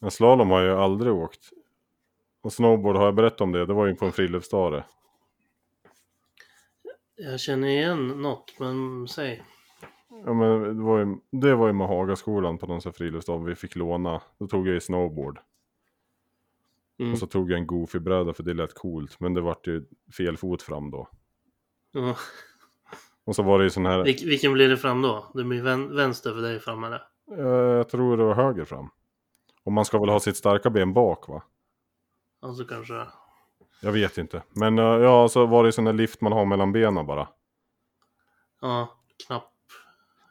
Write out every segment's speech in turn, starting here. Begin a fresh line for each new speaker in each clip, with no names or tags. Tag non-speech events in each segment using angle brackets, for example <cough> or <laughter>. En slalom har jag ju aldrig åkt. Och snowboard har jag berättat om det, det var ju på en friluftsdag
Jag känner igen något, men säg.
Ja, men det var ju, det var ju med Hagaskolan på någon sån här friluftsdag vi fick låna. Då tog jag ju snowboard.
Mm.
Och så tog jag en goofy-bräda för det lät coolt. Men det vart ju fel fot fram då.
Ja.
Och så var det ju sån här,
Vilk, vilken blir det fram då? Det blir vän, vänster för dig framme där.
eh, jag tror det var höger fram. Och man ska väl ha sitt starka ben bak va?
Alltså kanske...
Jag vet inte. Men eh, ja, så var det ju sån här lift man har mellan benen bara.
Ja, knapp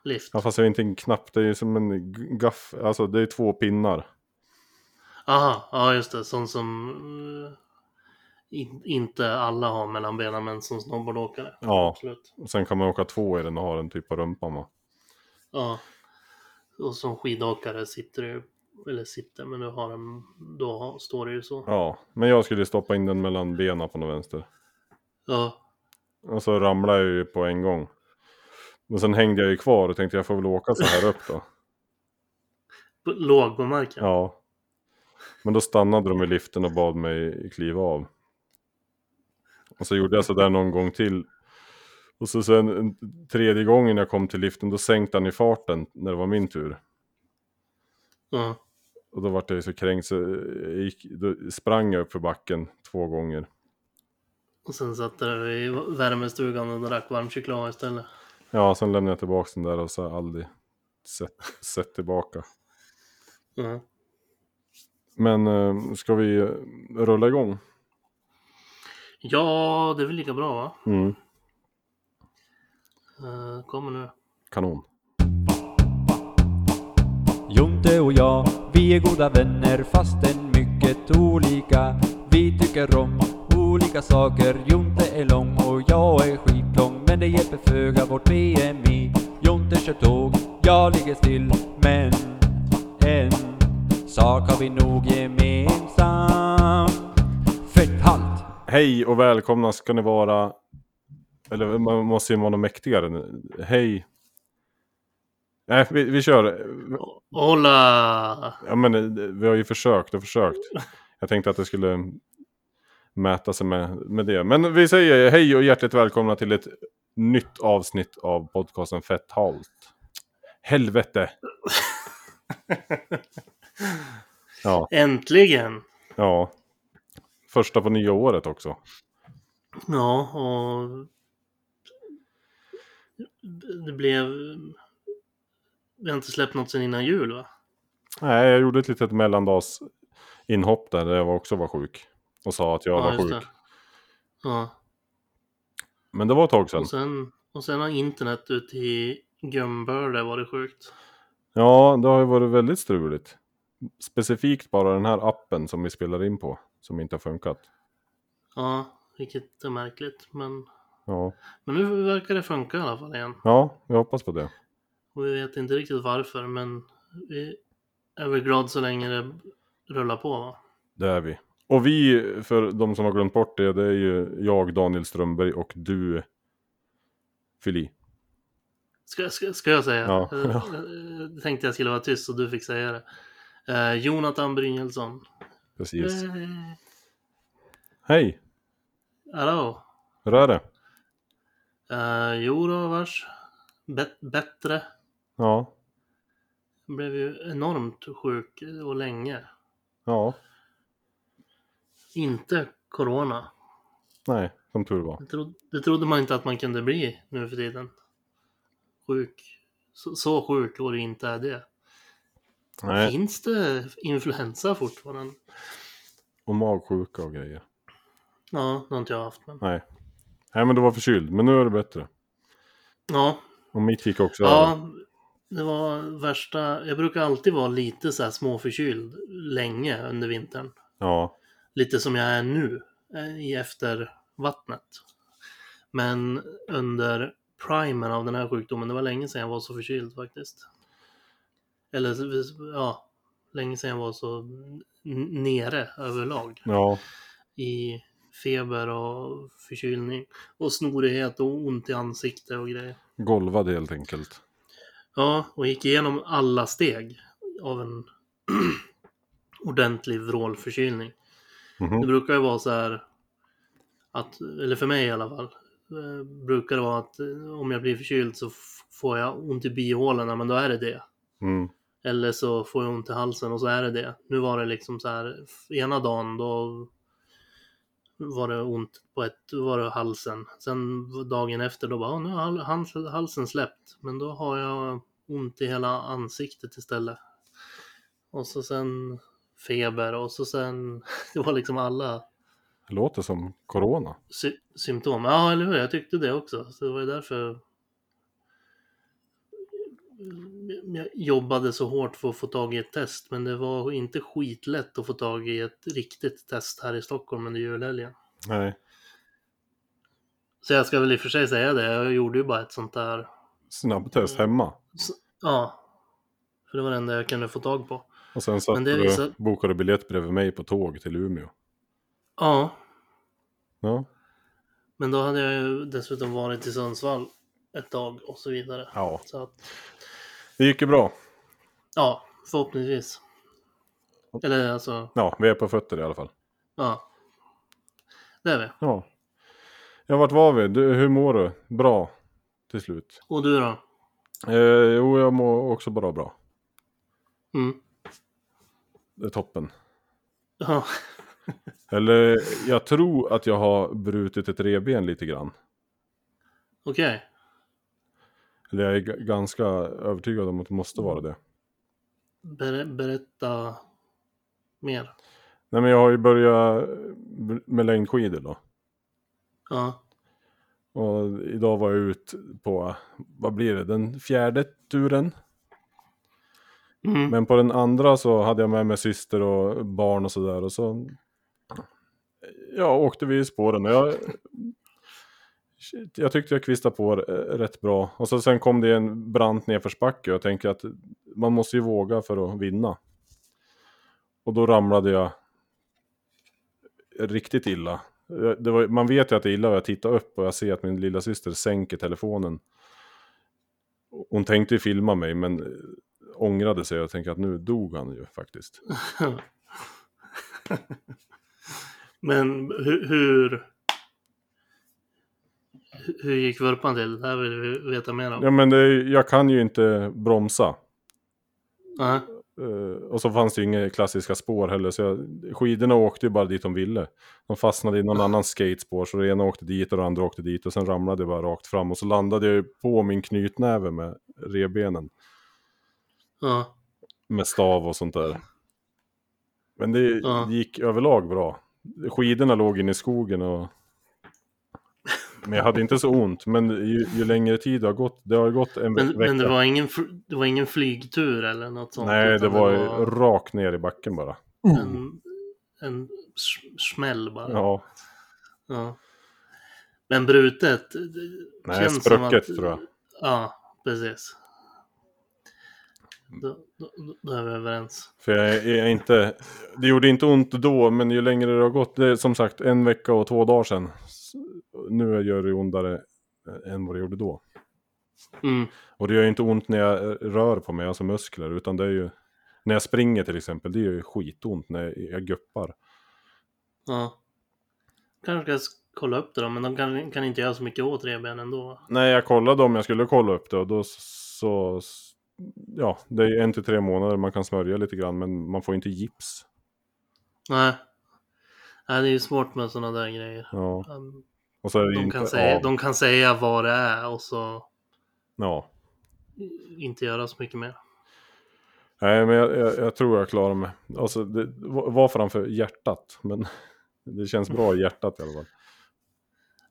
lift.
Ja, fast det är inte en knapp, det är ju som en g- gaff, alltså det är två pinnar.
Aha, ja just det. Sånt som eh, in, inte alla har mellan benen men som snowboardåkare.
Ja,
Absolut.
och sen kan man åka två i den och ha den typ på rumpan va?
Ja. Och som skidåkare sitter du, eller sitter, men du har en, då har- står det ju så.
Ja, men jag skulle ju stoppa in den mellan benen på något vänster.
Ja.
Och så ramlade jag ju på en gång. Men sen hängde jag ju kvar och tänkte jag får väl åka så här upp då.
P- Låg på marken.
Ja. Men då stannade de i liften och bad mig kliva av. Och så gjorde jag sådär någon gång till. Och så sen en tredje gången jag kom till liften då sänkte han i farten när det var min tur.
Ja.
Och då vart jag ju så kränkt så jag gick, då sprang jag upp för backen två gånger.
Och sen satt du i värmestugan och drack varm choklad istället.
Ja, sen lämnade jag tillbaka den där och så har jag aldrig sett, sett tillbaka.
Ja.
Men eh, ska vi eh, rulla igång?
ja, det är väl lika bra va?
Mm.
Eh, kommer nu.
Kanon.
Jonte och jag, vi är goda vänner fastän mycket olika. Vi tycker om olika saker. Jonte är lång och jag är skitlång. Men det hjälper föga vårt BMI. Jonte kör tåg, jag ligger still. Men en sak har vi nog gemensamt. Fetthalt!
Hej och välkomna ska ni vara... Eller man måste ju vara något mäktigare. nu. Hej. Nej, vi, vi kör.
Hola!
Ja, men, eh, vi har ju försökt och försökt. Jag tänkte att det skulle mäta sig med, med det. Men vi säger hej och hjärtligt välkomna till ett nytt avsnitt av podcasten Fett halt.
<laughs>
Helvete! ja,
Äntligen!
ja. Första på nya året också.
Ja, och det blev... Vi har inte släppt något sen innan jul va?
Nej, jag gjorde ett litet mellandags inhopp där, där jag också var sjuk. Och sa att jag var
just
sjuk.
det. Ja,
Men det var ett tag sedan.
och sen, och sen har internet ut i Gömbörde varit sjukt.
Ja, det har ju varit väldigt struligt. Specifikt bara den här appen som vi spelar in på, som inte har funkat.
Ja, vilket är märkligt. Men,
Ja,
men nu verkar det funka i alla fall igen.
ja jag hoppas på det.
Och vi vet inte riktigt varför, men vi är väl glad så länge det rullar på va?
Det är vi. Och vi, för de som har glömt bort det, det är ju jag, Daniel Strömberg, och du, Fili.
Ska, ska, ska jag säga?
Ja.
Eh, eh, tänkte jag skulle vara tyst så du fick säga det. Eh, Jonathan Brynjelsson.
Precis.
Eh,
Hej,
Hallå?
hur är det?
Uh, jo då, vars. Bet- bättre.
Ja,
Blev ju enormt sjuk eh, och länge.
ja,
Inte corona.
nej, som tur var.
Det, tro- det trodde man inte att man kunde bli nu för tiden. Sjuk. Så, så sjuk och det inte är det.
Nej,
Finns det influensa fortfarande?
och magsjuka och grejer.
Ja, det har inte jag haft. Men...
Nej. Nej, men du var förkyld. Men nu är det bättre.
Ja,
Och mitt gick också över.
Ja, det var värsta... Jag brukar alltid vara lite så här småförkyld länge under vintern.
Ja.
Lite som jag är nu eh, i eftervattnet. Men under primen av den här sjukdomen, det var länge sedan jag var så förkyld faktiskt. Eller så- ja, länge sedan jag var så n- nere överlag.
Ja.
I feber och förkylning. Och snorighet och ont i ansikte och grejer.
Golvad helt enkelt.
Ja, och gick igenom alla steg av en <clears throat> ordentlig vrålförkylning.
Mhm.
Det brukar ju vara så här att, eller för mig i alla fall, eh, brukar det vara att eh, om jag blir förkyld så f- får jag ont i bihålorna, men då är det det.
Mm.
Eller så får jag ont i halsen och så är det det. Nu var det liksom så här, ena dagen då var det ont på ett, då var det halsen. Sen dagen efter då bara, "Åh, nu har hal- hals- halsen släppt. Men då har jag ont i hela ansiktet istället. Och så sen feber och så sen, <laughs> det var liksom alla
Det låter som corona.
sy- symptom. Ja, eller hur? Jag tyckte det också. Så det var ju därför jag jobbade så hårt för att få tag i ett test. Men det var inte skitlätt att få tag i ett riktigt test här i Stockholm under julhelgen.
Nej.
Så jag ska väl i och för sig säga det. Jag gjorde ju bara ett sånt där.
Snabbtest hemma.
Ja. För det var det enda jag kunde få tag på.
Och sen satt
Men det
du
visar-
bokade biljett bredvid mig på tåg till Umeå.
Ja,
Ja.
men då hade jag ju dessutom varit i Sundsvall ett tag och så vidare.
ja.
Så att,
Det gick ju bra.
ja, förhoppningsvis. Eller alltså,
Ja, vi är på fötter i alla fall.
Ja. Det är vi.
Ja. Ja, vart var vi? Du, hur mår du? Bra. Till slut.
Och du då?
Eh, jo, jag mår också bara bra.
Mm.
Det är toppen.
Ja.
Eller, jag tror att jag har brutit ett revben lite grann.
Okej.
Eller jag är g- ganska övertygad om att det måste vara det.
Ber- berätta mer.
Nej, men jag har ju börjat med längdskidor då.
Ja.
Och idag var jag ut på, vad blir det, den fjärde turen.
Mm.
Men på den andra så hade jag med mig syster och barn och sådär. Och så ja, åkte vi i spåren. Och jag, Shit, jag tyckte jag kvistade på eh, rätt bra. Och så sen kom det en brant nedförsbacke. Och jag tänker att man måste ju våga för att vinna. Och då ramlade jag riktigt illa. Jag- Det var, man vet ju att det är illa och jag tittar upp och jag ser att min lilla syster sänker telefonen. Hon tänkte ju filma mig men eh, ångrade sig och tänkte att nu dog han ju faktiskt.
<laughs> Men hur, hur... hu- Hur gick vurpan till? Det här vill vi veta mer om.
Ja men det, är ju- jag kan ju inte bromsa.
Ja.
Eh, och så fanns det ju inga klassiska spår heller så jag, skidorna åkte ju bara dit de ville. De fastnade i någon annan skatespår så det ena åkte dit och det andra åkte dit och sen ramlade jag bara rakt fram och så landade jag ju på min knytnäve med revbenen.
ja.
med stav och sånt där. Men det
Ja.
gick överlag bra. Skidorna låg inne i skogen och... Men jag hade inte så ont, men ju, ju längre tid det har gått, det har gått en
Men,
vecka.
men det, var ingen, fl- det var ingen flygtur eller något sånt?
Nej, det
utan
var, rakt ner i backen bara.
en, en s- smäll bara.
Ja,
Ja. Men brutet? det
nej,
känns som
sprucket
att-
tror jag.
Ja, precis. Då, då, då är vi överens.
För jag är är inte... Det gjorde inte ont då, men ju längre det har gått, det är som sagt en vecka och två dagar sedan. Så Nu gör det ondare än vad det gjorde då.
Mm.
Och det gör ju inte ont när jag eh, rör på mig, alltså muskler, utan det är ju... När jag springer till exempel, det är ju skitont när jag guppar.
Ja. Kanske ska kolla upp det då, men de kan, kan inte göra så mycket åt revbenen ändå.
Nej, jag kollade om jag skulle kolla upp det och då så... Ja, det är en till tre månader man kan smörja lite grann, men man får inte gips.
Nej. Nej, det är ju svårt med sådana där grejer.
Ja,
Um,
och så är det
De
inte
kan, säga,
av.
de kan säga vad det är och så
Ja.
inte göra så mycket mer.
Nej, men jag, jag, jag tror jag klarar mig. Alltså, det var framför hjärtat, men <laughs> det känns bra i hjärtat i alla fall.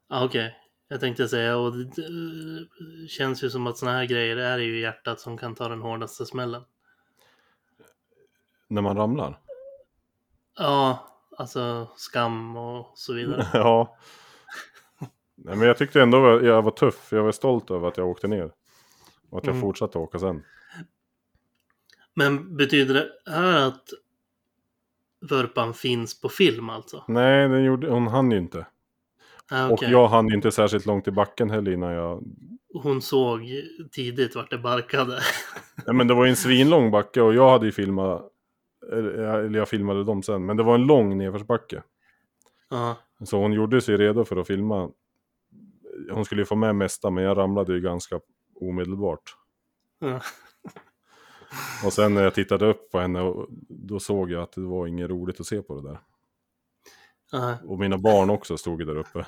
Ah, Okej, jag tänkte säga och det, det känns ju som att sådana här grejer är ju hjärtat som kan ta den hårdaste smällen.
När man ramlar.
Ja, alltså skam och så
Mm.
vidare.
<laughs> ja. Nej, men jag tyckte ändå att jag var tuff. Jag var stolt över att jag åkte ner. Och att jag
Mm.
fortsatte åka sen.
Men betyder det här att vurpan finns på film alltså?
Nej, den gjorde, hon hann ju inte.
Ah,
Och
okej.
jag hann ju inte särskilt långt i backen heller innan jag...
Hon såg tidigt vart det barkade. <laughs>
Nej, men det var ju en svinlång backe och jag hade ju filmat eller jag- eller jag filmade dem sen, men det var en lång nedförsbacke.
Ja,
Så hon gjorde sig redo för att filma. Hon skulle ju få med mesta, men jag ramlade ju ganska omedelbart.
ja.
Och sen när jag tittade upp på henne, och- då såg jag att det var inget roligt att se på det där.
ja.
Och mina barn också stod ju där uppe.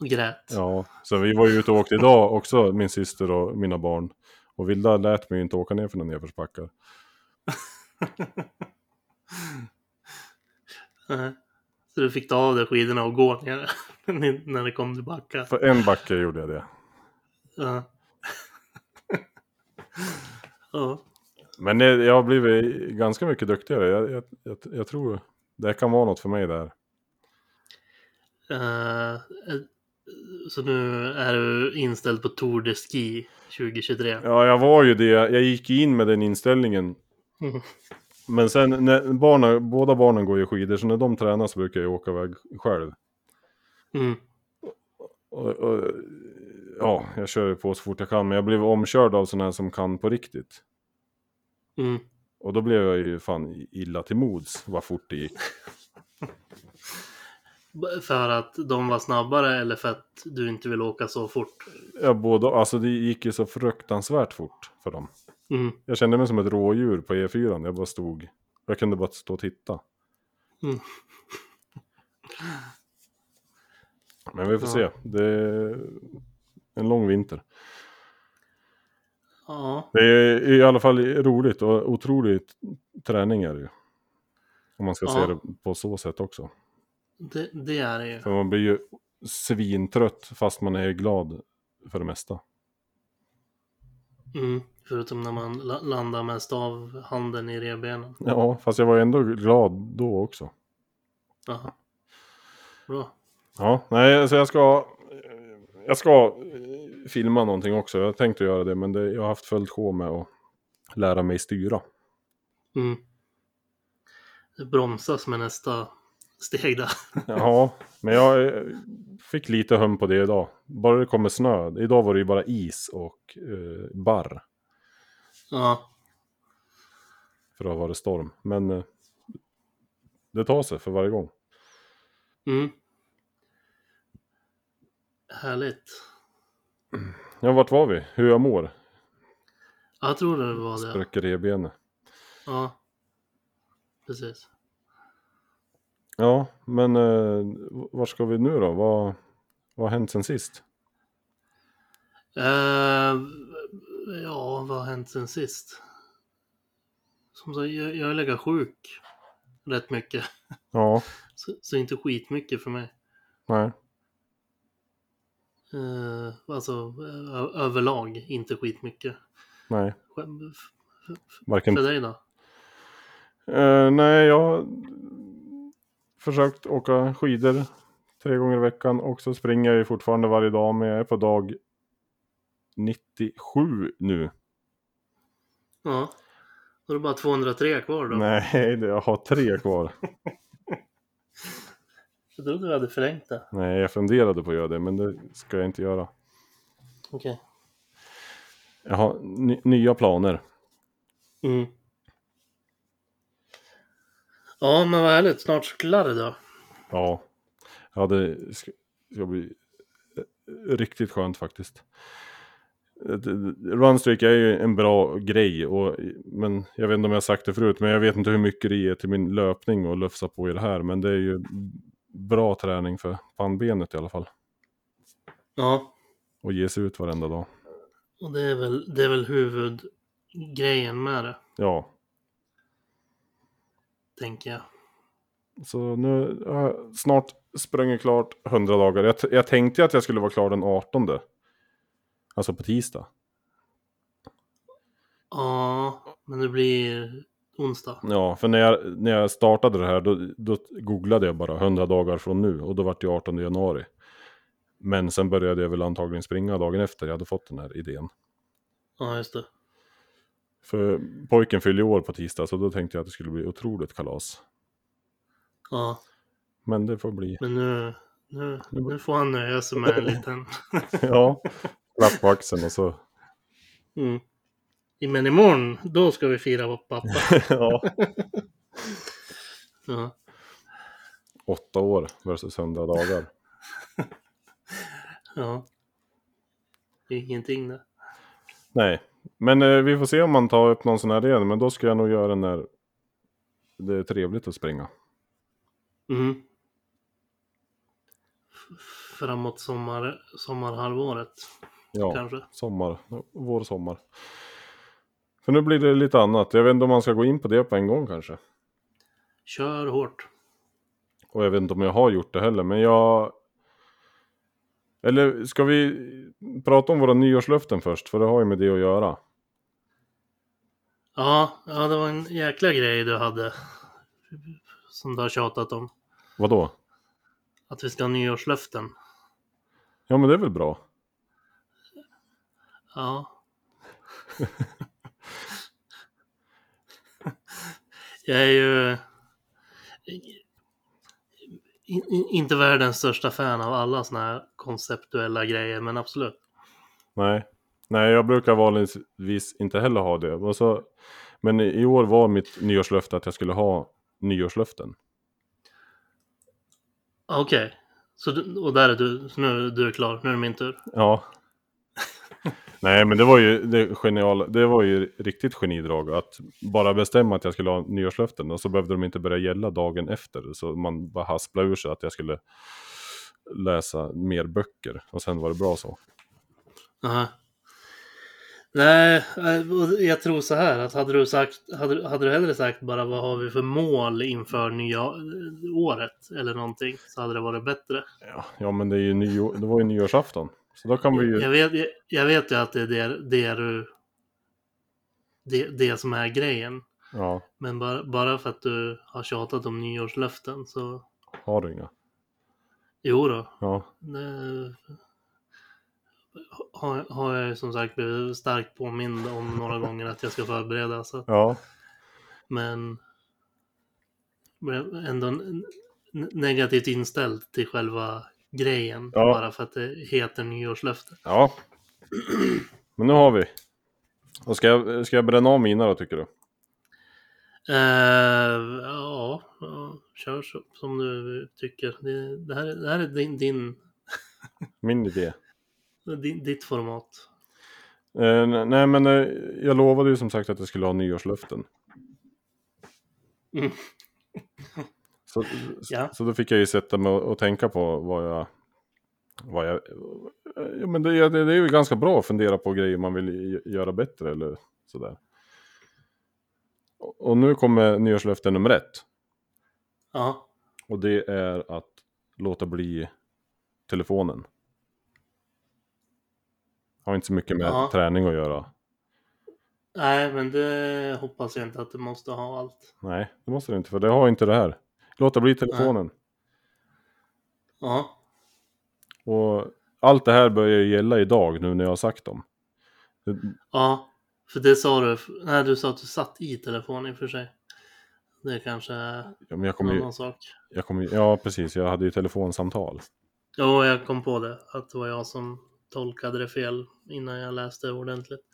Och grät.
Ja, så vi var ju ute och åkte idag också, min syster och mina barn. Och Vilda lät mig ju inte åka ner för några nedförsbackar.
Ja. Så du fick ta av dig skidorna och gå ner <laughs> när det kom till backa.
För en backe gjorde jag det.
Ja. <laughs> ja.
Men eh, jag har blivit ganska mycket duktigare. Jag, jag, jag, jag tror det här kan vara något för mig där.
Eh, så nu är du inställd på Tour de Ski 2023.
Ja, jag var ju det. Jag gick in med den inställningen.
Mm.
Men sen när barnen, båda barnen går ju skidor, så när de tränar så brukar jag åka iväg själv.
Mm.
Och, och, ja, jag kör ju på så fort jag kan, men jag blev omkörd av sådana här som kan på riktigt.
Mm.
Och då blev jag ju fan illa till mods vad fort det gick.
B- För att de var snabbare eller för att du inte vill åka så fort?
Jag båda, alltså det gick ju så fruktansvärt fort för dem.
Mm.
Jag kände mig som ett rådjur på E4, jag bara stod, jag kunde bara stå och titta.
Mm.
Men vi får
Ja.
se, det är en lång vinter.
Ja.
Det är i alla fall roligt och otroligt träning är det ju. Om man ska
Ja.
se det på så sätt också.
Det, det är det ju.
För man blir ju svintrött fast man är glad för det mesta.
Mm. Förutom när man la- landar med stavhanden i revbenen.
Ja, fast jag var ändå glad då också.
Jaha. Bra.
Ja, nej, så jag ska... Jag ska eh, filma någonting också. Jag tänkte göra det, men det, jag har haft fullt sjå med att lära mig
<laughs>
styra.
Mm. Det bromsas med nästa steg där.
Ja, men jag eh, fick lite hum på det idag. Bara det kommer snö. Idag var det ju bara is och eh, barr.
Ja.
För då var det storm. Men eh, det tar sig för varje gång.
Mm. Härligt.
Ja, vart var vi? Hur jag mår?
Ja, jag tror det var det.
Spräcker revbenet.
Ja. Precis.
Ja, men eh, var ska vi nu då? Vad, vad har hänt sen sist?
Eh, ja, vad har hänt sen sist? Som sagt, jag, jag har legat sjuk rätt mycket. <laughs>
Ja,
Så, så inte skitmycket för mig.
nej.
Eh, alltså ö- överlag inte skitmycket.
Nej,
Skäm- f- f-
varken...
För dig då?
Eh, nej, jag har försökt åka skidor tre gånger i veckan och så springer jag ju fortfarande varje dag, men jag är på dag 97 nu.
Ja. Då är det bara 203 kvar då.
Nej, det- jag har tre kvar.
Jag trodde du hade förlängt det.
nej, jag funderade på att göra det, men det ska jag inte göra.
Okej.
Jag har ny- nya planer.
Mm. Ja, men vad härligt. Snart så klarar det då.
Ja, ja det ska, ska bli eh, riktigt skönt faktiskt. Eh, d- Runstreak är ju en bra grej, och, men jag vet inte om jag har sagt det förut, men jag vet inte hur mycket det är till min löpning och lufsa på i det här, men det är ju bra träning för pannbenet i alla fall.
Ja,
Och ge sig ut varenda dag.
och det är väl, det är väl huvudgrejen med det,
Ja,
tänker jag.
så nu har jag snart sprungit klart 100 dagar. Jag, t- jag tänkte ju att jag skulle vara klar den 18. Alltså på tisdag.
Ja, men det blir onsdag.
Ja, för när jag, när jag startade det här då, då googlade jag bara 100 dagar från nu och då var det ju 18 januari. Men sen började jag väl antagligen springa dagen efter jag hade fått den här idén.
Ja, just det.
För pojken fyller ju år på tisdag så då tänkte jag att det skulle bli otroligt kalas.
Ja,
Men det får
<laughs>
bli,
men nu, nu, nu får han nöja sig med en liten
ja, klapp på axeln och så
<laughs> mm, Men imorgon, då ska vi fira vår pappa.
ja.
Ja.
Åtta år versus hundra dagar.
ja. Det är ingenting där.
Nej, men eh, vi får se om man tar upp någon sån här igen. Men då ska jag nog göra den när det är trevligt att springa.
Mm. F- Framåt sommar, sommarhalvåret
Ja,
kanske.
sommar. Vår sommar. För nu blir det lite annat. Jag vet inte om man ska gå in på det på en gång kanske.
Kör hårt.
Och jag vet inte om jag har gjort det heller, men jag... Eller ska vi prata om våra nyårslöften först? För det har ju med det att göra.
Ja, ja, det var en jäkla grej du hade. Som du har tjatat om.
Vadå?
Att vi ska ha nyårslöften.
Ja, men det är väl bra.
Ja. <laughs> Jag är ju in- in- inte världens största fan av alla såna här konceptuella grejer, men absolut.
Nej. Nej, jag brukar vanligtvis inte heller ha det. Och så... Men i år var mitt nyårslöfte att jag skulle ha nyårslöften.
Okej, så du, och där är du, så nu är du klar, nu är det min tur.
Ja. Nej, men det var ju det geniala. Det var ju riktigt genidrag att bara bestämma att jag skulle ha nyårslöften och så behövde de inte börja gälla dagen efter. Så man bara hasplade ur sig att jag skulle läsa mer böcker och sen var det bra så.
Aha. Nej, eh, och jag tror så här att hade du sagt, hade, du- hade du hellre sagt bara vad har vi för mål inför nya eh, året eller någonting så hade det varit bättre.
Ja, ja men det, är ju nyår, det var ju nyårsafton. Så då kan vi ju...
Jag vet, jag, jag vet ju att det är det, det du, det, det som är grejen.
Ja,
Men bara, bara för att du har tjatat om nyårslöften så,
har du inga?
jo då,
Ja,
Det har, har jag ju som sagt blivit starkt påmind om några gånger att jag ska förbereda. Så. att-
ja,
Men blev ändå n- n- negativt inställd till själva grejen.
Ja.
Bara för att det heter nyårslöfte.
ja. Men nu har vi. Och ska jag, ska jag bränna av mina då tycker du?
Eh, ja, ja, kör så, som du tycker. Det, det, här, är- det här är din, din,
Min idé.
din, ditt format.
Eh, ne- nej men eh, jag lovade ju som sagt att jag skulle ha nyårslöften.
Mm. <laughs>
Så, s-
Ja.
så då fick jag ju sätta mig och, och tänka på vad jag... Vad jag eh, ja, men det, är- det, det är ju ganska bra att fundera på grejer man vill gö- göra bättre eller sådär. Och- Och nu kommer nyårslöfte nummer ett.
Ja,
Och det är att låta bli telefonen. Har inte så mycket med
Ja.
träning att göra.
nej men det hoppas jag inte att du måste ha allt.
Nej, det måste det inte, för det har inte det här. Låta bli telefonen.
Ja.
Och allt det här börjar ju gälla idag nu när jag har sagt dem.
Ja, för det sa du. Nej, du sa att du satt i telefonen i och för sig. Det kanske är
Ja, men jag
en
kommer ju,
annan sak.
jag kommer ju, ja precis, jag hade ju telefonsamtal.
Jo, jag kom på det. Att det var jag som tolkade det fel innan jag läste ordentligt.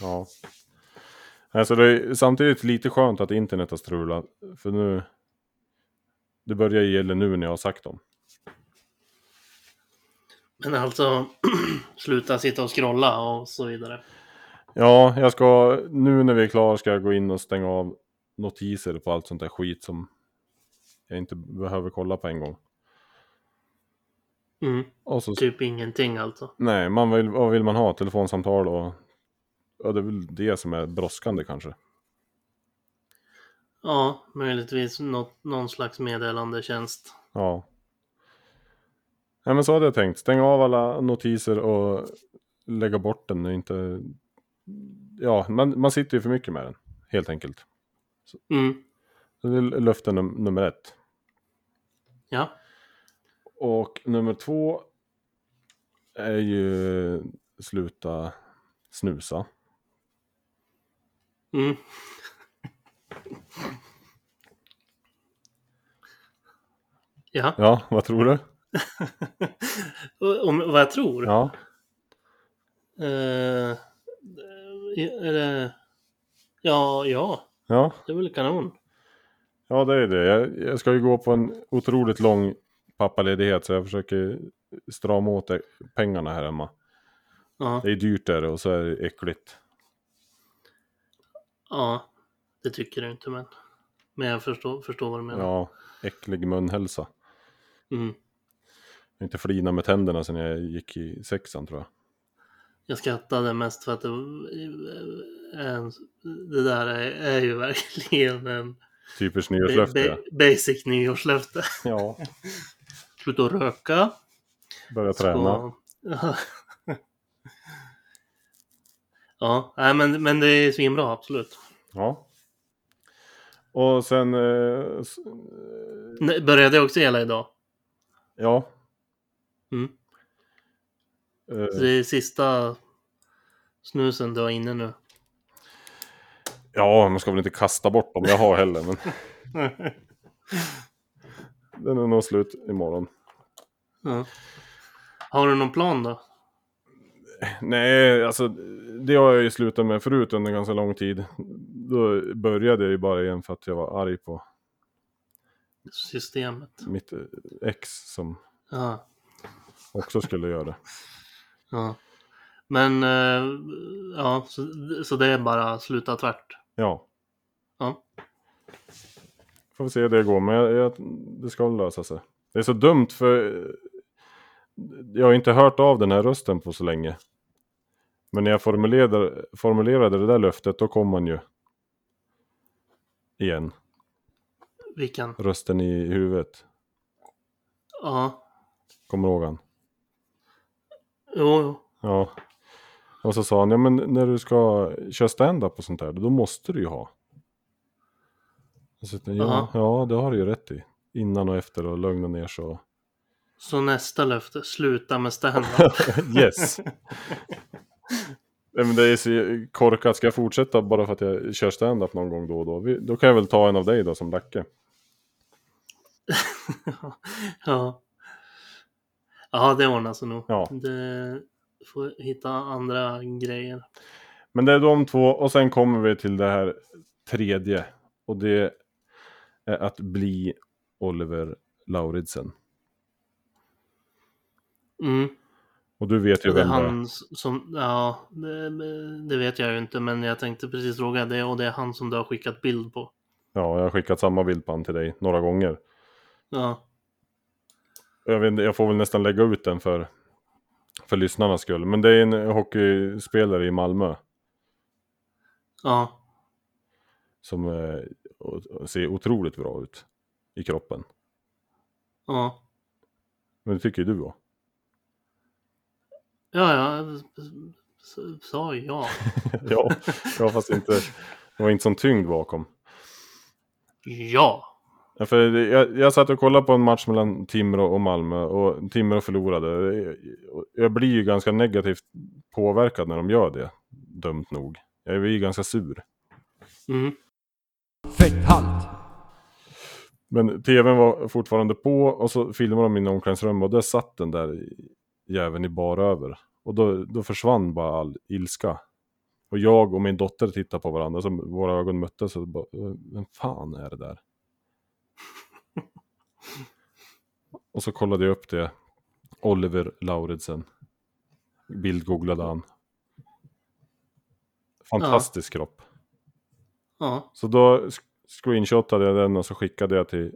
Ja. Alltså det är samtidigt lite skönt att internet har strulat, för nu... Det börjar ju gälla nu när jag har sagt dem.
Men alltså, <clears throat> sluta sitta och scrolla och så vidare.
Ja, jag ska, nu när vi är klara ska jag gå in och stänga av notiser på allt sånt där skit som jag inte behöver kolla på en gång.
Mm,
Och så
typ ingenting alltså.
Nej, man vill, vad vill man ha? Telefonsamtal och... Ja, det är väl det som är brådskande kanske.
Ja, möjligtvis något, någon slags meddelandetjänst.
Ja. Nej, men så hade jag tänkt. Stänga av alla notiser och lägga bort den. och Inte... Ja, man, man sitter ju för mycket med den, helt enkelt.
Mm,
Så Det är löfte num nummer ett.
ja.
Och nummer två är ju sluta snusa.
Mm. <laughs> Ja,
Ja, vad tror du?
Och- om vad jag tror.
Ja,
Eh, är det Ja, ja,
Ja,
det är väl kanon.
ja det är det. Jag, jag ska ju gå på en otroligt lång pappaledighet så jag försöker strama åt det- pengarna här hemma.
Ja,
Det är dyrt där och så är det äckligt.
ja, det tycker du inte men. Men jag förstår, förstår vad du menar.
Ja, äcklig munhälsa.
Mm.
Jag har inte flina med tänderna sedan jag gick i sexan tror jag.
Jag skrattade mest för att det, en, det där är, är ju <laughs> verkligen en
Typiskt
ba,
nyårslöfte. ja.
ba, basic nyårslöfte. <laughs>
Ja,
Sluta att röka.
börja träna.
Så- <laughs> ja, nej, men, men det är svinbra, absolut.
Ja. Och sen, eh, s-
Nej, Började det också gälla idag?
ja.
Mm. Så
Eh,
det är sista snusen du har
<laughs>
inne nu.
Ja, man ska väl inte kasta bort dem jag har heller. Men <laughs> den är nog slut imorgon.
ja. Har du någon plan då?
Nej, alltså det har jag ju slutat med förut under ganska lång tid. Då började jag ju bara igen för att jag var arg på
Systemet?
mitt eh, ex som
Ja.
också skulle göra det.
ja. Men, eh, ja, så, så det är bara sluta tvärt?
Ja.
Ja.
Får vi se hur det går, men jag, jag, det ska väl lösa sig. Det är så dumt för eh, jag har inte hört av den här rösten på så länge. Men när jag formulerade, formulerade det där löftet, då kom han ju. Igen,
Vilken?
rösten i huvudet.
Ja.
Kommer du ihåg han?
Jo, jo.
Ja. Och så sa han, ja men när du ska köra stand-up och sånt där, då måste du ju ha. Och Så, tänkte jag, ja,
Aha.
ja, det har du ju rätt i. Innan och efter och lugna ner sig och...
Så nästa löfte, sluta med standup.
<laughs> Yes! Nej, men det är så korkat, ska jag fortsätta bara för att jag kör stand-up någon gång då och då? Vi, då kan jag väl ta en av dig då som Lacke.
ja. Ja, det ordnar sig nog.
Ja.
Det får hitta andra grejer.
Men det är de två och sen kommer vi till det här tredje. Och det är att bli Oliver Lauridsen.
Mm.
Och du vet ju
Det är
vem det är.
han som, ja, det, det vet jag ju inte, men jag tänkte precis fråga det och det är han som du har skickat bild på.
Ja, jag har skickat samma bild på han till dig några gånger.
Ja,
jag, vet, inte, jag får väl nästan lägga ut den för, för lyssnarnas skull. Men det är en hockeyspelare i Malmö
ja,
som eh, o- o- ser otroligt bra ut i kroppen.
ja,
Men det tycker ju du va?
ja, ja, s- sa <laughs> ja.
ja, <laughs> ja, fast inte, det var inte sån tyngd bakom.
Ja,
Ja, för det- jag, jag satt och kollade på en match mellan Timrå och Malmö och Timrå förlorade. Jag- Jag blir ju ganska negativt påverkad när de gör det, dumt nog. Jag blir ju ganska sur.
mm.
Fetthalt!
Men tvn var fortfarande på och så filmade de in i omklädningsrummet och där satt den där jäveln i bar över. Och då, då försvann bara all ilska. Och jag och min dotter tittade på varandra, så våra ögon möttes och bara, vem fan är det där? <laughs> och så kollade jag upp det, Oliver Lauridsen. Bildgooglade han. Fantastisk kropp.
ja,
Så då sk- screenshotade jag den och så skickade jag till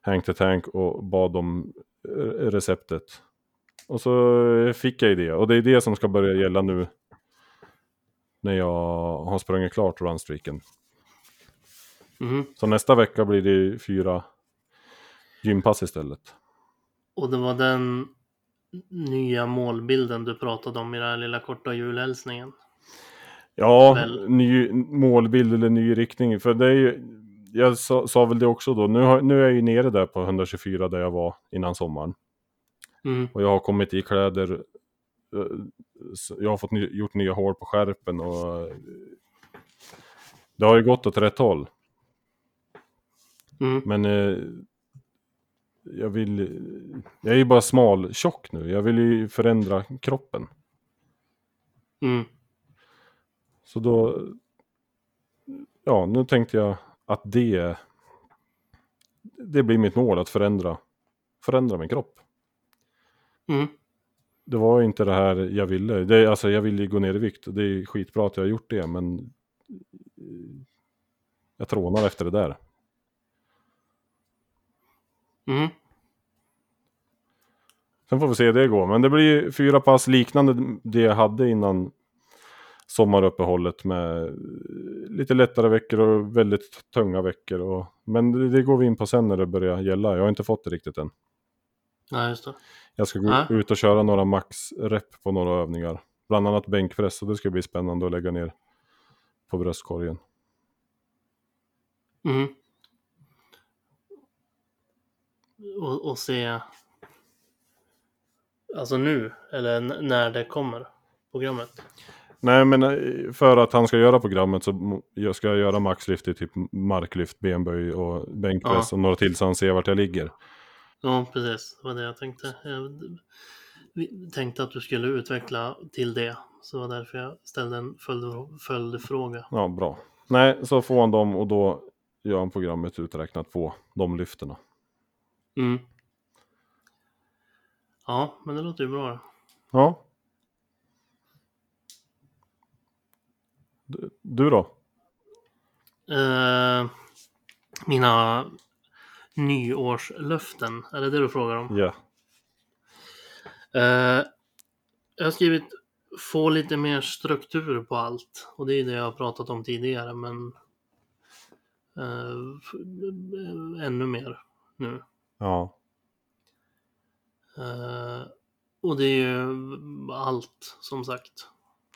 Hank the Tank och bad om eh, receptet. Och så fick jag ju det. Och det är det som ska börja gälla nu. När jag har sprungit klart runstreaken.
mm.
Så nästa vecka blir det ju fyra gympass istället.
Och det var den nya målbilden du pratade om i den här lilla korta julhälsningen.
Ja,
Väl-
ny målbild eller ny riktning. För det är ju, jag sa, sa väl det också då. Nu, har, nu är jag ju nere där på 124 där jag var innan sommaren.
Mm.
Och jag har kommit i kläder. eh, så Jag har fått ny, gjort nya hår på skärpen och eh, det har ju gått åt rätt håll.
Mm.
Men eh, jag vill, eh, jag är ju bara smal tjock nu. Jag vill ju förändra kroppen.
Mm.
Så då ja, nu tänkte jag att det, det blir mitt mål att förändra, förändra min kropp.
Mm.
Det var ju inte det här jag ville. Det, alltså jag ville ju gå ner i vikt och det är skitbra att jag har gjort det, men eh, jag trånar efter det där.
Mm.
Sen får vi se hur det går. Men det blir ju fyra pass liknande det jag hade innan sommaruppehållet med eh, lite lättare veckor och väldigt tunga veckor. Och, men det, det går vi in på sen när det börjar gälla. Jag har inte fått det riktigt än.
Ja, just det.
Jag ska gå
Nej.
ut och köra några maxrep på några övningar. Bland annat bänkpress och det ska bli spännande att lägga ner på bröstkorgen.
Mm. Och, och se... Alltså nu, eller n- när det kommer, programmet.
Nej, men eh, för att han ska göra programmet så mo- jag ska jag göra maxlyft i typ marklyft, benböj och bänkpress och några till så han ser vart jag ligger.
Ja, precis. Det var det jag tänkte. Jag vi- tänkte att du skulle utveckla till det. Så det var därför jag ställde en följd, följdfråga.
Ja, bra. Nej, så får han dem och då gör han programmet uträknat på de lyftena.
Mm. Ja, men det låter ju bra.
Ja. Du, du då?
Eh, mina nyårslöften, är det det du frågar om?
Ja.
Eh, jag har skrivit få lite mer struktur på allt och det är det jag har pratat om tidigare men eh, f- ännu mer nu.
Ja.
Eh, och det är ju allt som sagt.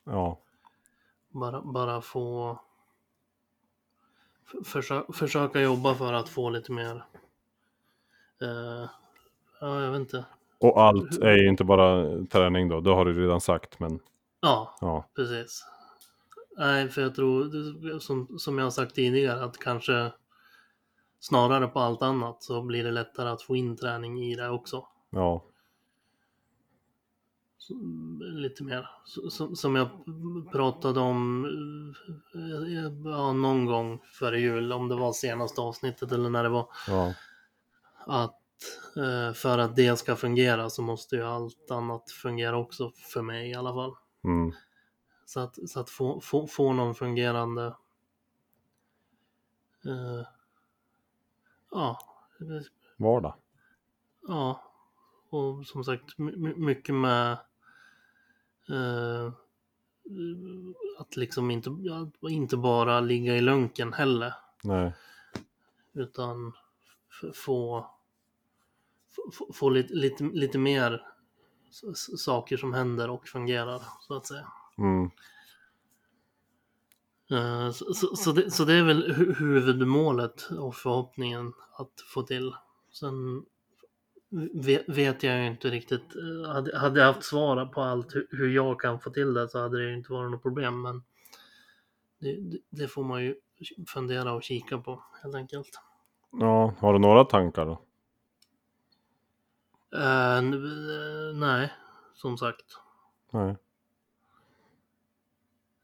Ja.
Bara, bara få f- försö- försöka jobba för att få lite mer eh, ja, jag vet inte.
Och allt är ju inte bara träning då, det har du redan sagt, men
Ja,
ja.
Precis. Nej, för jag tror, det- som, som jag har sagt tidigare, att kanske snarare på allt annat så blir det lättare att få in träning i det också.
Ja.
Så, lite mer. Så, som, som jag pratade om eh, ja, någon gång före jul, om det var senaste avsnittet eller när det var,
Ja.
att eh, för att det ska fungera så måste ju allt annat fungera också, för mig i alla fall.
Mm.
Så att, så att få, få, få någon fungerande eh, ja, eh,
Vardag.
ja, och som sagt my- my- mycket med eh, att liksom inte, ja, inte bara ligga i lunken heller,
Nej.
utan f- få, f- få, få lite, lite, lite mer s- s- saker som händer och fungerar, så att säga.
Mm.
Eh, Så, så, så, det, så det är väl hu- huvudmålet och förhoppningen att få till. Sen ve- vet jag ju inte riktigt. eh, Hade, hade jag haft svar på allt hu- hur jag kan få till det så hade det ju inte varit något problem. Men det, det- det får man ju fundera och kika på helt enkelt.
Ja, har du några tankar då?
Eh, n- eh, nej, som sagt.
Nej.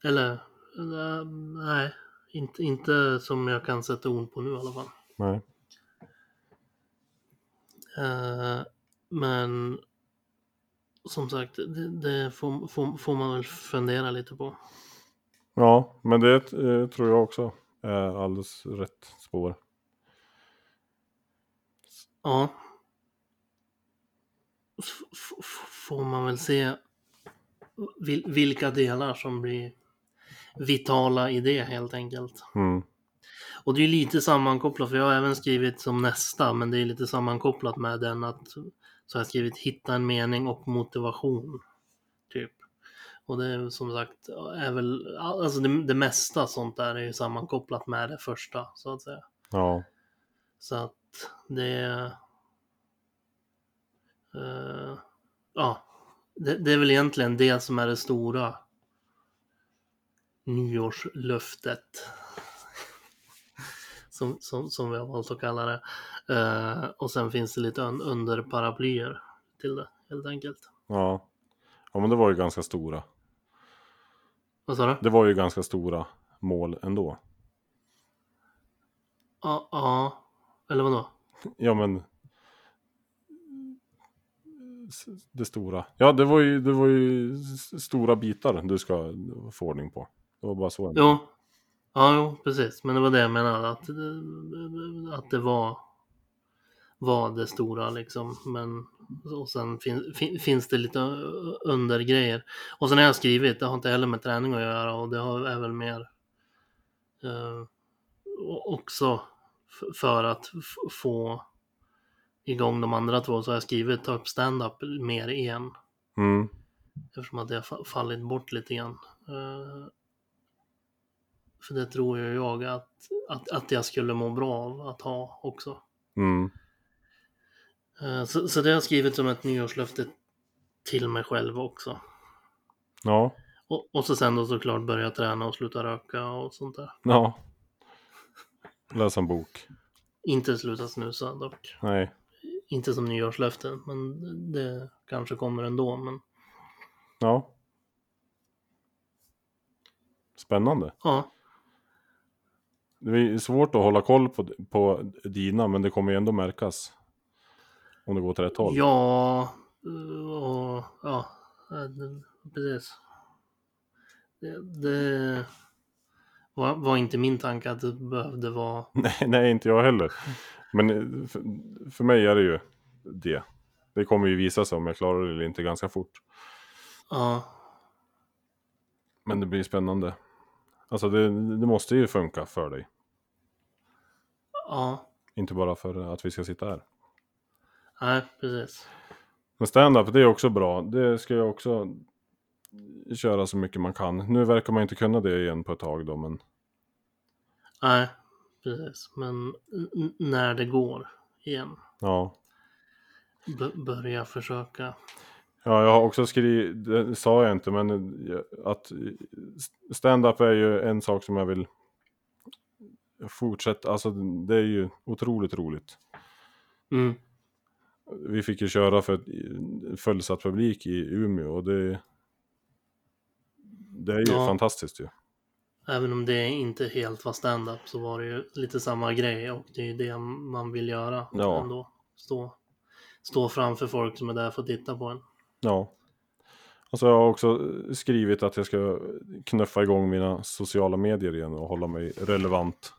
Eller eh, nej, inte, inte som jag kan sätta ord på nu i alla fall.
Nej.
Eh, men som sagt, det, det får, får, får man väl fundera lite på.
Ja, men det eh, tror jag också är alldeles rätt spår.
Ja. F- f- f- får man väl se vil, vilka delar som blir vitala i det helt enkelt.
Mm.
Och det är ju lite sammankopplat, för jag har även skrivit som nästa, men det är lite sammankopplat med den att så har jag skrivit hitta en mening och motivation. Typ. Och det är ju som sagt, är väl, alltså det, det mesta sånt där är ju sammankopplat med det första, så att säga.
Ja.
Så att det... eh, ja, det, det är väl egentligen det som är det stora nyårslöftet. <laughs> Som, som, som vi har valt att kalla det. Eh, och sen finns det lite un- underparaplyer till det, helt enkelt.
Ja. Ja, men det var ju ganska stora.
Vad sa du?
Det var ju ganska stora mål ändå.
Ja, ja. Eller vadå?
Ja men. s- Det stora. Ja det var ju, det var ju s- stora bitar du ska få ordning på. Det var bara så. jag menade.
Jo. Ja, jo, precis. Men det var det jag menade. Att, det- att det var, var det stora liksom. Men och sen fin, fin, finns det lite ö- undergrejer. Och sen har jag skrivit, det har inte heller med träning att göra och det har är väl mer eh, o- också f- för att f- få igång de andra två så har jag skrivit ta upp stand-up mer igen.
Mm.
Eftersom att det har fa- fallit bort lite grann. Eh, För det tror ju jag att, att, att jag skulle må bra av att ha också.
Mm.
Eh, Så, så det har jag skrivit som ett nyårslöfte till mig själv också.
Ja.
Och, och så sen då såklart börja träna och sluta röka och sånt där.
Ja. Läsa en bok.
Inte sluta snusa dock.
Nej.
Inte som nyårslöfte, men det kanske kommer ändå. Men
Ja. Spännande.
ja,
Det är svårt att hålla koll på, på dina, men det kommer ju ändå märkas. Om det går åt rätt håll.
Ja, eh, och ja, eh, precis. Det, det var, var inte min tanke att det behövde vara.
Nej, <laughs> nej, inte jag heller. Men eh, för, för mig är det ju det. Det kommer ju visa sig om jag klarar det eller inte ganska fort.
Ja,
Men det blir spännande. Alltså det, det måste ju funka för dig.
ja,
Inte bara för att vi ska sitta här.
nej, precis.
Men stand-up, det är också bra. Det ska jag också köra så mycket man kan. Nu verkar man inte kunna det igen på ett tag då, men
Nej, precis. Men n- n- när det går igen,
ja.
b- börja försöka.
Ja, jag har också skrivit, det sa jag inte, men eh, att eh, stand-up är ju en sak som jag vill fortsätta, alltså det är ju otroligt roligt.
Mm,
Vi fick ju köra för ett- fullsatt publik i Umeå och det, det är ju
Ja.
fantastiskt ju.
även om det inte helt var stand-up så var det ju lite samma grej och det är ju det man vill göra
Ja.
ändå. Stå, stå framför folk som är där för att titta på en.
Ja. Alltså jag har också skrivit att jag ska knuffa igång mina sociala medier igen och hålla mig relevant.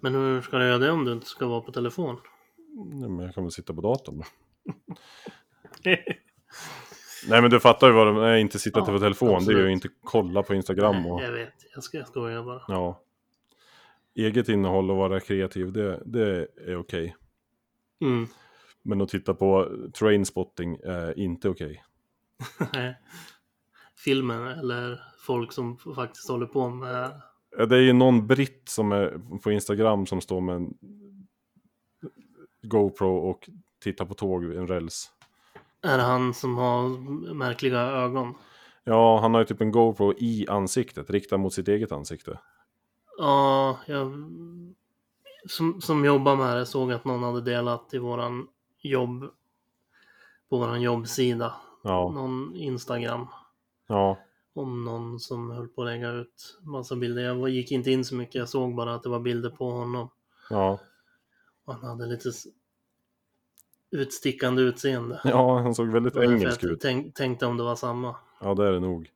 Men hur ska du göra det om du inte ska vara på telefon?
Nej, men jag kan väl sitta på datorn. Nej men du fattar ju vad det är, inte sitta
Ja,
på telefon, det är ju
absolut.
inte kolla på Instagram och
Jag vet, jag ska skoja bara.
ja. Eget innehåll och vara kreativ, det, det är okej.
Mm.
Men att titta på trainspotting är inte okej.
Filmer eller folk som faktiskt håller på med...
Ja, Det är ju någon britt som är på Instagram som står med en GoPro och tittar på tåg vid en räls.
Är det han som har märkliga ögon?
Ja, han har ju typ en GoPro i ansiktet, riktad mot sitt eget ansikte.
Ja, jag... Som, som jobbar med det såg att någon hade delat i våran jobb... På våran jobbsida.
Ja,
Någon Instagram.
ja,
om någon som höll på att lägga ut massa bilder. Jag var- gick inte in så mycket, jag såg bara att det var bilder på honom.
ja.
Och han hade lite s- utstickande utseende.
Ja, han såg väldigt
Det var därför
engelsk
jag
ut.
Tänk, tänkte om det var samma.
Ja, det är det nog.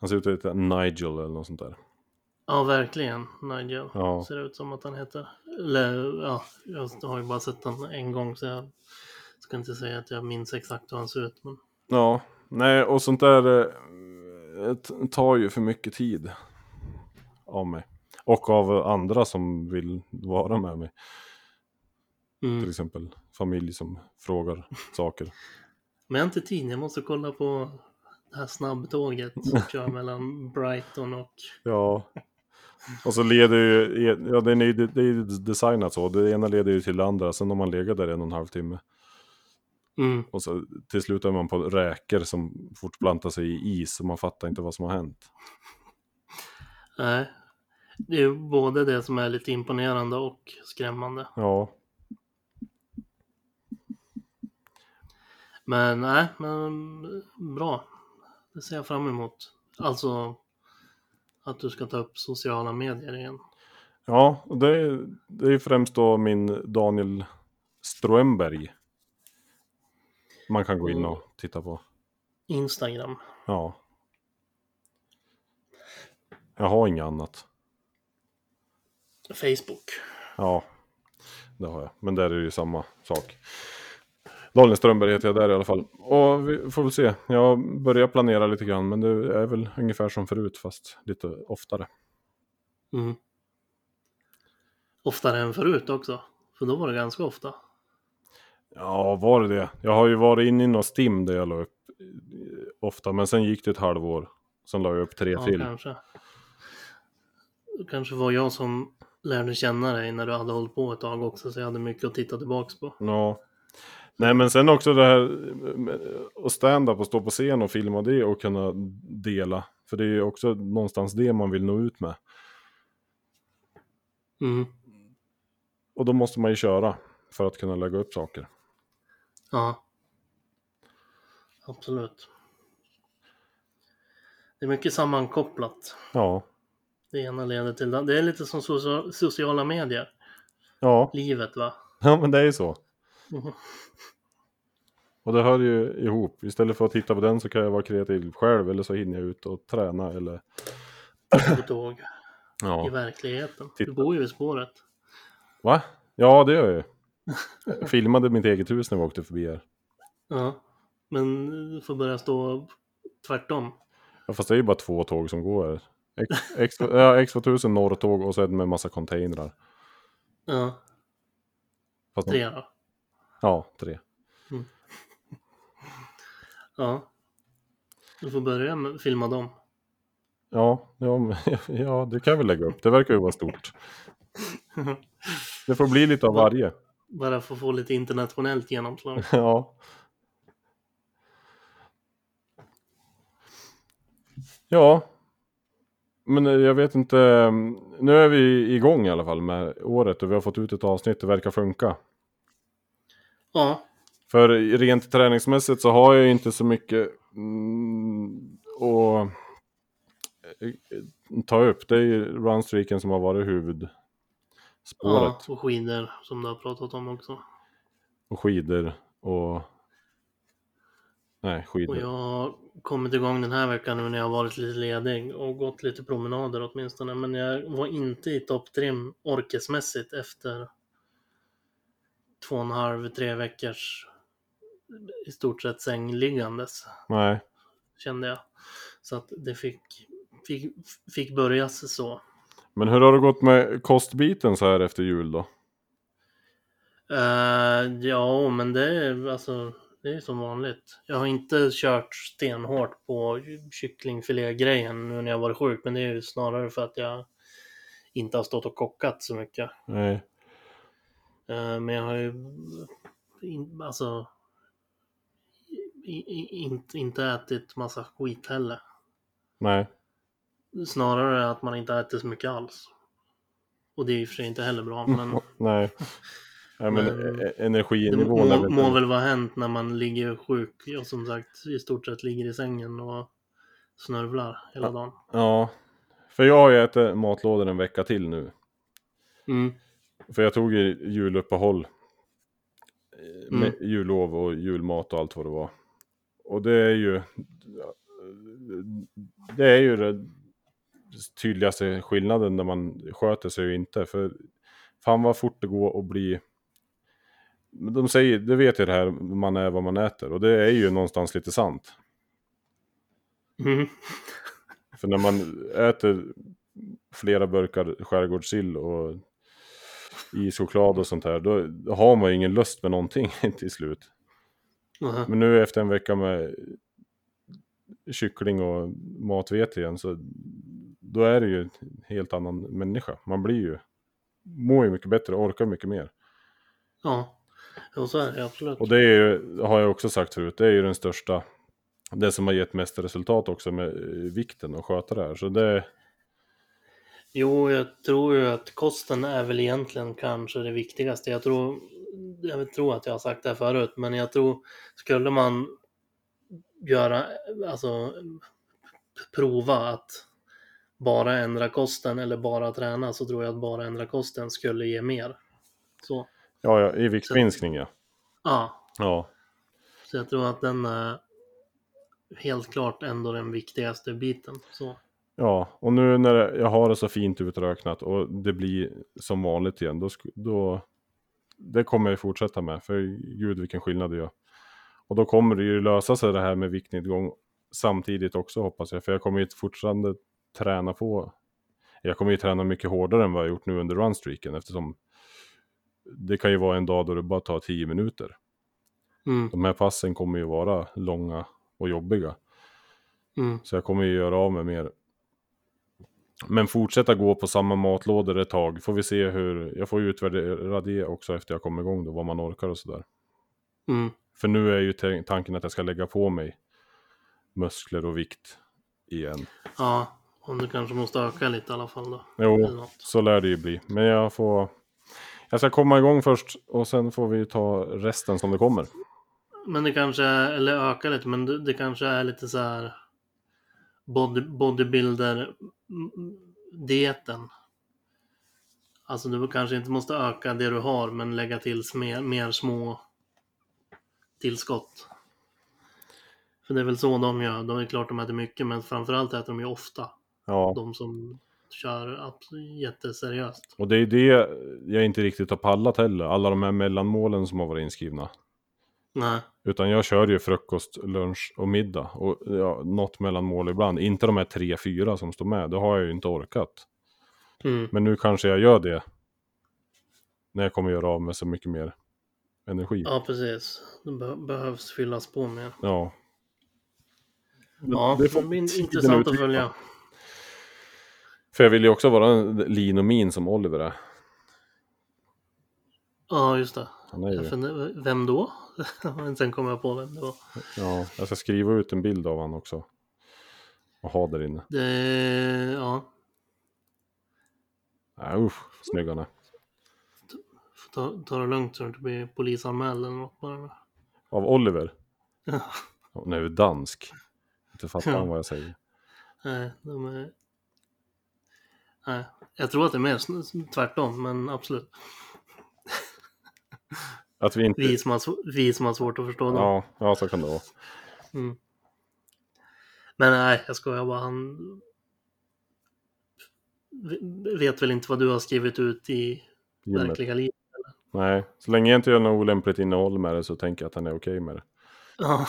Han ser ut att heta Nigel eller något sånt där.
Ja, verkligen. Nigel
Ja.
ser det ut som att han heter. Eller ja, jag har ju bara sett honom en gång så jag ska inte säga att jag minns exakt hur han ser ut. Men
Ja, nej, och sånt där eh, t- tar ju för mycket tid av mig. Och av andra som vill vara med mig. Till
mm.
exempel familj som <laughs> frågar saker.
Men jag har inte tid, jag måste kolla på det
<laughs>
här snabbtåget som kör mellan Brighton och...
Ja. Och så leder ju, ja, den är ju, det är ju designat så. Det ena leder ju till det andra. Sen om man legat där en och en halv timme.
Mm.
Och så till slut är man på räkor som fortplantar sig i is. Och man fattar inte vad som har hänt.
Nej. Det är ju både det som är lite imponerande och skrämmande.
Ja,
Men nej, men bra. Det ser jag fram emot. Alltså att du ska ta upp sociala medier igen.
Ja, och det, är- det är ju främst då min Daniel Strömberg. Man kan gå in och titta på.
Instagram.
Ja. Jag har inget annat.
Facebook.
Ja, det har jag. Men där är det ju samma sak. Daniel Strömberg heter jag där i alla fall. Och vi får väl se. Jag börjar planera lite grann, men det är väl ungefär som förut, fast lite oftare.
Mm. Oftare än förut också. För då var det ganska ofta.
Ja, var det det? Jag har ju varit inne i någon STIM där jag la upp eh, ofta, men sen gick det ett halvår. Sen la jag upp tre
Ja,
till.
kanske. Det kanske var jag som lärde känna dig när du hade hållit på ett tag också, så jag hade mycket att titta tillbaks på.
Ja. Nej, men sen också det här eh, att stand-up och stå på scen och filma det och kunna dela. För det är ju också någonstans det man vill nå ut med.
Mm.
Och då måste man ju köra för att kunna lägga upp saker.
Ja. Absolut. Det är mycket sammankopplat.
Ja,
Det ena leder till det Det är lite som socia- sociala medier.
ja,
Livet va?
ja men det är ju så.
Mhm.
Och det hör ju ihop. Istället för att titta på den så kan jag vara kreativ själv eller så hinner jag ut och träna eller...
På tåg. I
<laughs> Ja.
verkligheten. Du
Titta.
bor ju vid spåret.
Va? Ja, det gör jag ju. Jag filmade mitt eget hus när vi åkte förbi här.
Ja. Men du får börja stå tvärtom.
Ja, fast det är ju bara två tåg som går här. X- X- ja, X2000 norrtåg och sen med massa containrar.
Ja.
Fast
Tre då.
Ja, tre.
Ja. Du får börja med filma dem.
Ja, ja, <laughs> men- ja, det kan vi lägga upp. Det verkar ju vara stort. Det får bli lite av varje.
Bara för att få lite
<laughs>
internationellt genomslag.
Ja. Ja. Men eh, jag vet inte. eh, Nu är vi igång i alla fall med året och vi har fått ut ett avsnitt. Det verkar funka.
Ja.
För rent träningsmässigt så har jag ju inte så mycket mm, att eh, ta upp. Det är ju runstreaken som har varit huvudspåret.
ja. Och skidor som du har pratat om också.
Och skidor och... Nej, skidor.
Och jag har kommit igång den här veckan nu när jag har varit lite ledig och gått lite promenader åtminstone. Men jag var inte i topptrim orkesmässigt efter två och en halv, tre veckors i stort sett sängliggandes
Nej,
kände jag. Så att det fick, fick, fick börjas så.
men hur har det gått med kostbiten så här efter jul då?
Eh, ja, men det är alltså, det är som vanligt. Jag har inte kört stenhårt på kycklingfilé-grejen nu när jag varit sjuk, men det är ju snarare för att jag inte har stått och kockat så mycket.
Nej.
Eh, men jag har ju in, alltså i, i, inte, inte ätit massa skit heller.
Nej.
Snarare att man inte äter så mycket alls. Och det är i och för sig inte heller bra, men
Nej. Nej, men
Men-
e-
Det må,
energinivån är
må,
väl...
må väl vara hänt när man ligger sjuk och som sagt i stort sett ligger i sängen och snörvlar hela dagen.
Ja. För jag har ju ätit matlådor en vecka till nu.
Mm.
För jag tog ju juluppehåll. eh, Med jullov och julmat och allt vad det var. Och det är ju... Det är ju den tydligaste skillnaden när man sköter sig och inte. För fan vad fort det går att bli... Men De säger, det vet ju det här, man är vad man äter. Och det är ju någonstans lite sant.
Mm.
För när man äter flera burkar skärgårdssill och ischoklad och sånt här, då har man ju ingen lust med någonting <laughs> till slut.
Aha.
Men nu efter en vecka med kyckling och matvete igen, så då är det ju en helt annan människa. Man blir ju, mår ju mycket bättre och orkar mycket mer.
Ja. ja, så är det absolut.
Och det är ju, har jag också sagt förut, det är ju den största, det som har gett mest resultat också med eh, vikten och sköta det här. Så det,
Jo, jag tror ju att kosten är väl egentligen kanske det viktigaste. Jag tror, jag tror att jag har sagt det här förut, men jag tror skulle man göra, alltså prova att bara ändra kosten eller bara träna så tror jag att bara ändra kosten skulle ge mer. Så,
Ja, ja i viktminskning ja.
ja,
Ja,
så jag tror att den är helt klart ändå den viktigaste biten. Så,
ja. och nu när jag har det så fint utröknat och det blir som vanligt igen, då, sk- då det kommer jag fortsätta med, för gud vilken skillnad det gör. Och då kommer det ju lösa sig det här med viktnedgång samtidigt också hoppas jag, för jag kommer ju fortfarande träna på, jag kommer ju träna mycket hårdare än vad jag gjort nu under runstreaken, eftersom det kan ju vara en dag då det bara tar 10 minuter.
mm,
De här passen kommer ju vara långa och jobbiga.
mm,
Så jag kommer ju göra av med mer. Men fortsätta gå på samma matlådor ett tag. Får vi se hur, jag får ju utvärdera det också efter jag kommer igång då, vad man orkar och sådär.
mm,
För nu är ju te- tanken att jag ska lägga på mig muskler och vikt igen.
ja, om du kanske måste öka lite i alla fall då. Eller
Jo,
något.
så lär det ju bli. Men jag får, jag ska komma igång först och sen får vi ta resten som det kommer.
Men det kanske, eller öka lite, men det, det kanske är lite så här body, bodybuilder-dieten. Alltså du kanske inte måste öka det du har, men lägga till mer, mer små tillskott. För det är väl så de gör. De är klart de äter mycket, men framförallt äter de ju ofta.
Ja.
De som kör abs- jätteseriöst.
Och det är ju det jag inte riktigt har pallat heller, alla de här mellanmålen som har varit inskrivna.
Nej,
Utan jag kör ju frukost, lunch och middag och ja, något mellanmål ibland. Inte de här tre, fyra som står med, det har jag ju inte orkat.
mm,
Men nu kanske jag gör det. När jag kommer göra av med så mycket mer energi. Ja.
ja precis. Det be- behövs fyllas på mer.
Men
Ja,
det
det
får
blir
tiden
intressant att
utvisa.
följa.
För jag vill ju också vara en lean och min som Oliver är.
Ja, just det.
Han är ju,
Jag funderar, vem då? <laughs> Men Sen kom jag på vem det var.
ja, jag ska skriva ut en bild av han också. Och ha där inne.
Det, ja,
Äh, usch, snygg han är.
får ta, ta det lugnt så du inte blir polisanmäld eller något bara.
Av Oliver?
Ja.
Han är ju dansk. Inte fattar han vad jag säger.
Nej, de är... Nej, jag tror att det är mer sn- tvärtom, men absolut.
Att vi inte...
Vi som har, sv- vi som har svårt att förstå dem.
Ja, ja, så kan det vara.
Mm. Men nej, jag skojar bara. Han v- vet väl inte vad du har skrivit ut i
Gymmet.
verkliga livet.
Nej, så länge jag inte gör något olämpligt innehåll med det så tänker jag att han är okej med det.
Ja.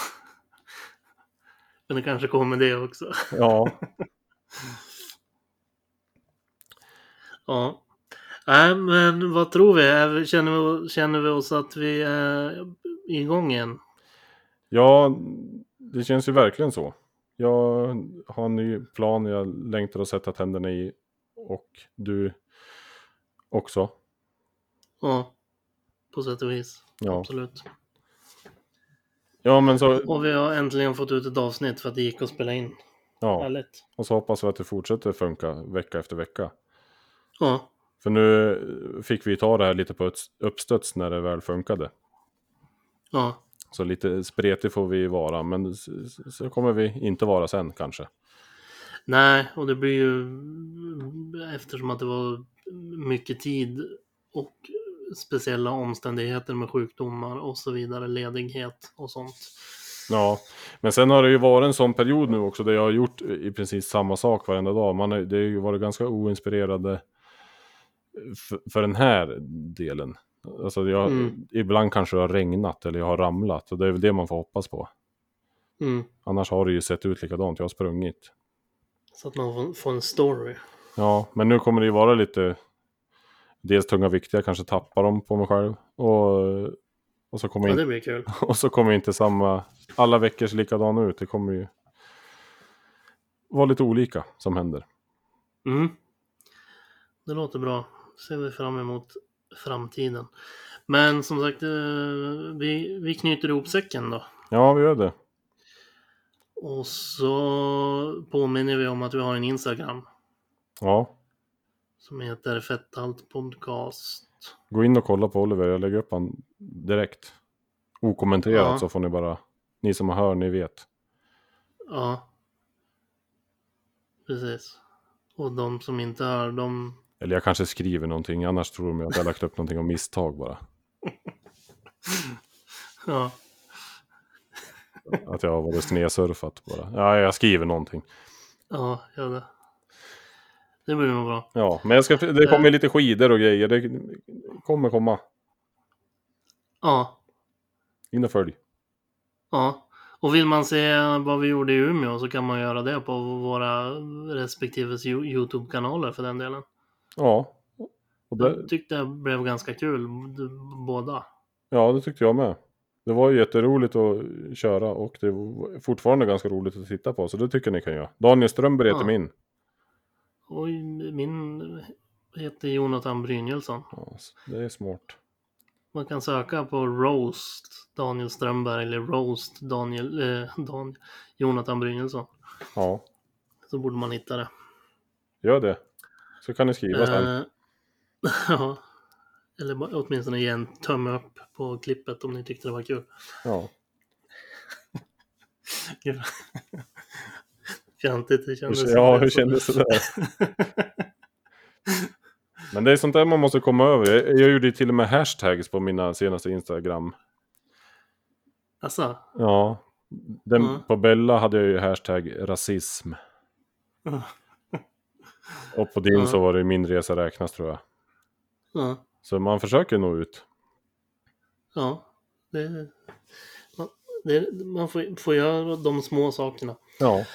Men det kanske kommer det också.
Ja,
Ja. Nej, men vad tror vi? Är- Känner vi, känner vi oss att vi är igång igen?
ja det känns ju verkligen så. Jag har en ny plan jag längtar att sätta tänderna i. Och du också.
Ja. På sätt och vis.
Ja,
Absolut.
ja men så...
Och vi har äntligen fått ut ett avsnitt för att det gick att spela in.
Ja.
Härligt.
Och så hoppas vi att det fortsätter funka vecka efter vecka.
Ja.
För nu fick vi ta det här lite på ett uppstuds när det väl funkade.
Ja.
Så lite spretig får vi vara, men s- s- så kommer vi inte vara sen kanske.
Nej, och det blir ju eftersom att det var mycket tid och speciella omständigheter med sjukdomar och så vidare, ledighet och sånt.
Ja, men sen har det ju varit en sån period nu också där jag har gjort i princip samma sak varenda dag. Man har, det har ju varit ganska oinspirerade för, för den här delen. Alltså jag,
Mm.
ibland kanske det har regnat eller jag har ramlat och det är väl det man får hoppas på.
Mm.
Annars har det ju sett ut likadant, jag har sprungit.
Så att man får- får en story.
Ja, men nu kommer det ju vara lite... Dels tunga viktiga, kanske tappa dem på mig själv. Och, och, så kommer
Ja,
inte,
det blir kul.
och så kommer inte samma... Alla veckor ser likadana ut. Det kommer ju vara lite olika som händer.
Mm. Det låter bra. Ser vi fram emot framtiden. Men som sagt, eh, vi, vi knyter ihop säcken då.
Ja, vi gör det.
Och så påminner vi om att vi har en Instagram
Ja,
som heter Fetthalt Podcast.
gå in och kolla på Oliver. Jag lägger upp han direkt. Okommenterat
Ja.
så får ni bara... Ni som hör, ni vet.
Ja. Precis. Och de som inte hör, de...
Eller jag kanske skriver någonting, annars tror de att jag har lagt upp någonting av misstag bara.
Ja,
Att jag har varit snedsurfat bara. Ja, jag skriver någonting.
ja, gör det. Det blir nog bra.
Ja, men jag ska, det kommer lite skidor och grejer. Det kommer komma.
Ja,
In och följ.
ja. Och vill man se vad vi gjorde i Umeå så kan man göra det på våra respektive You- YouTube-kanaler för den delen.
Ja. Och det,
Jag tyckte det blev ganska kul, b- båda.
ja, det tyckte jag med. Det var ju jätteroligt att köra och det är fortfarande ganska roligt att titta på. Så det tycker jag ni kan göra. Daniel Strömberg heter
Ja.
min.
Och min heter Jonathan Brynjelsson.
Ja, det är smart.
Man kan söka på Roast Daniel Strömberg eller Roast Daniel, eh, Dan, Jonathan Brynjelsson.
Ja,
Så borde man hitta det.
gör det. Så kan ni skriva sen.
Eh, <laughs> ja. Eller bara- åtminstone ge en tumme upp på klippet om ni tyckte det var kul.
Ja.
Kul. <laughs> Fjantigt det kändes.
Ja, hur kändes det där? <laughs> Men det är sånt där man måste komma över. Jag, jag gjorde ju till och med hashtags på mina senaste Instagram.
Alltså,
Ja. Den,
Mm.
På Bella hade jag ju hashtag rasism.
Mm.
Och på din
Mm.
så var det ju min resa räknas tror jag.
ja.
Så man försöker nå ut.
ja det, man, det, man får, får göra de små sakerna.
Ja,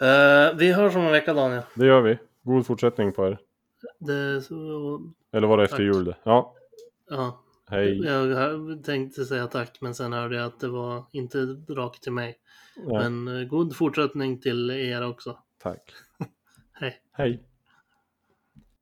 Eh, vi hörs om en vecka Daniel.
det gör vi. God fortsättning på er.
Det, så,
Eller var det efter
Tack.
jul det? Ja,
ja.
hej.
Jag hör- tänkte säga tack, men sen hörde jag att det var inte rakt till mig.
Ja,
Men eh, god fortsättning till er också.
Tack.
Hej.
Hej.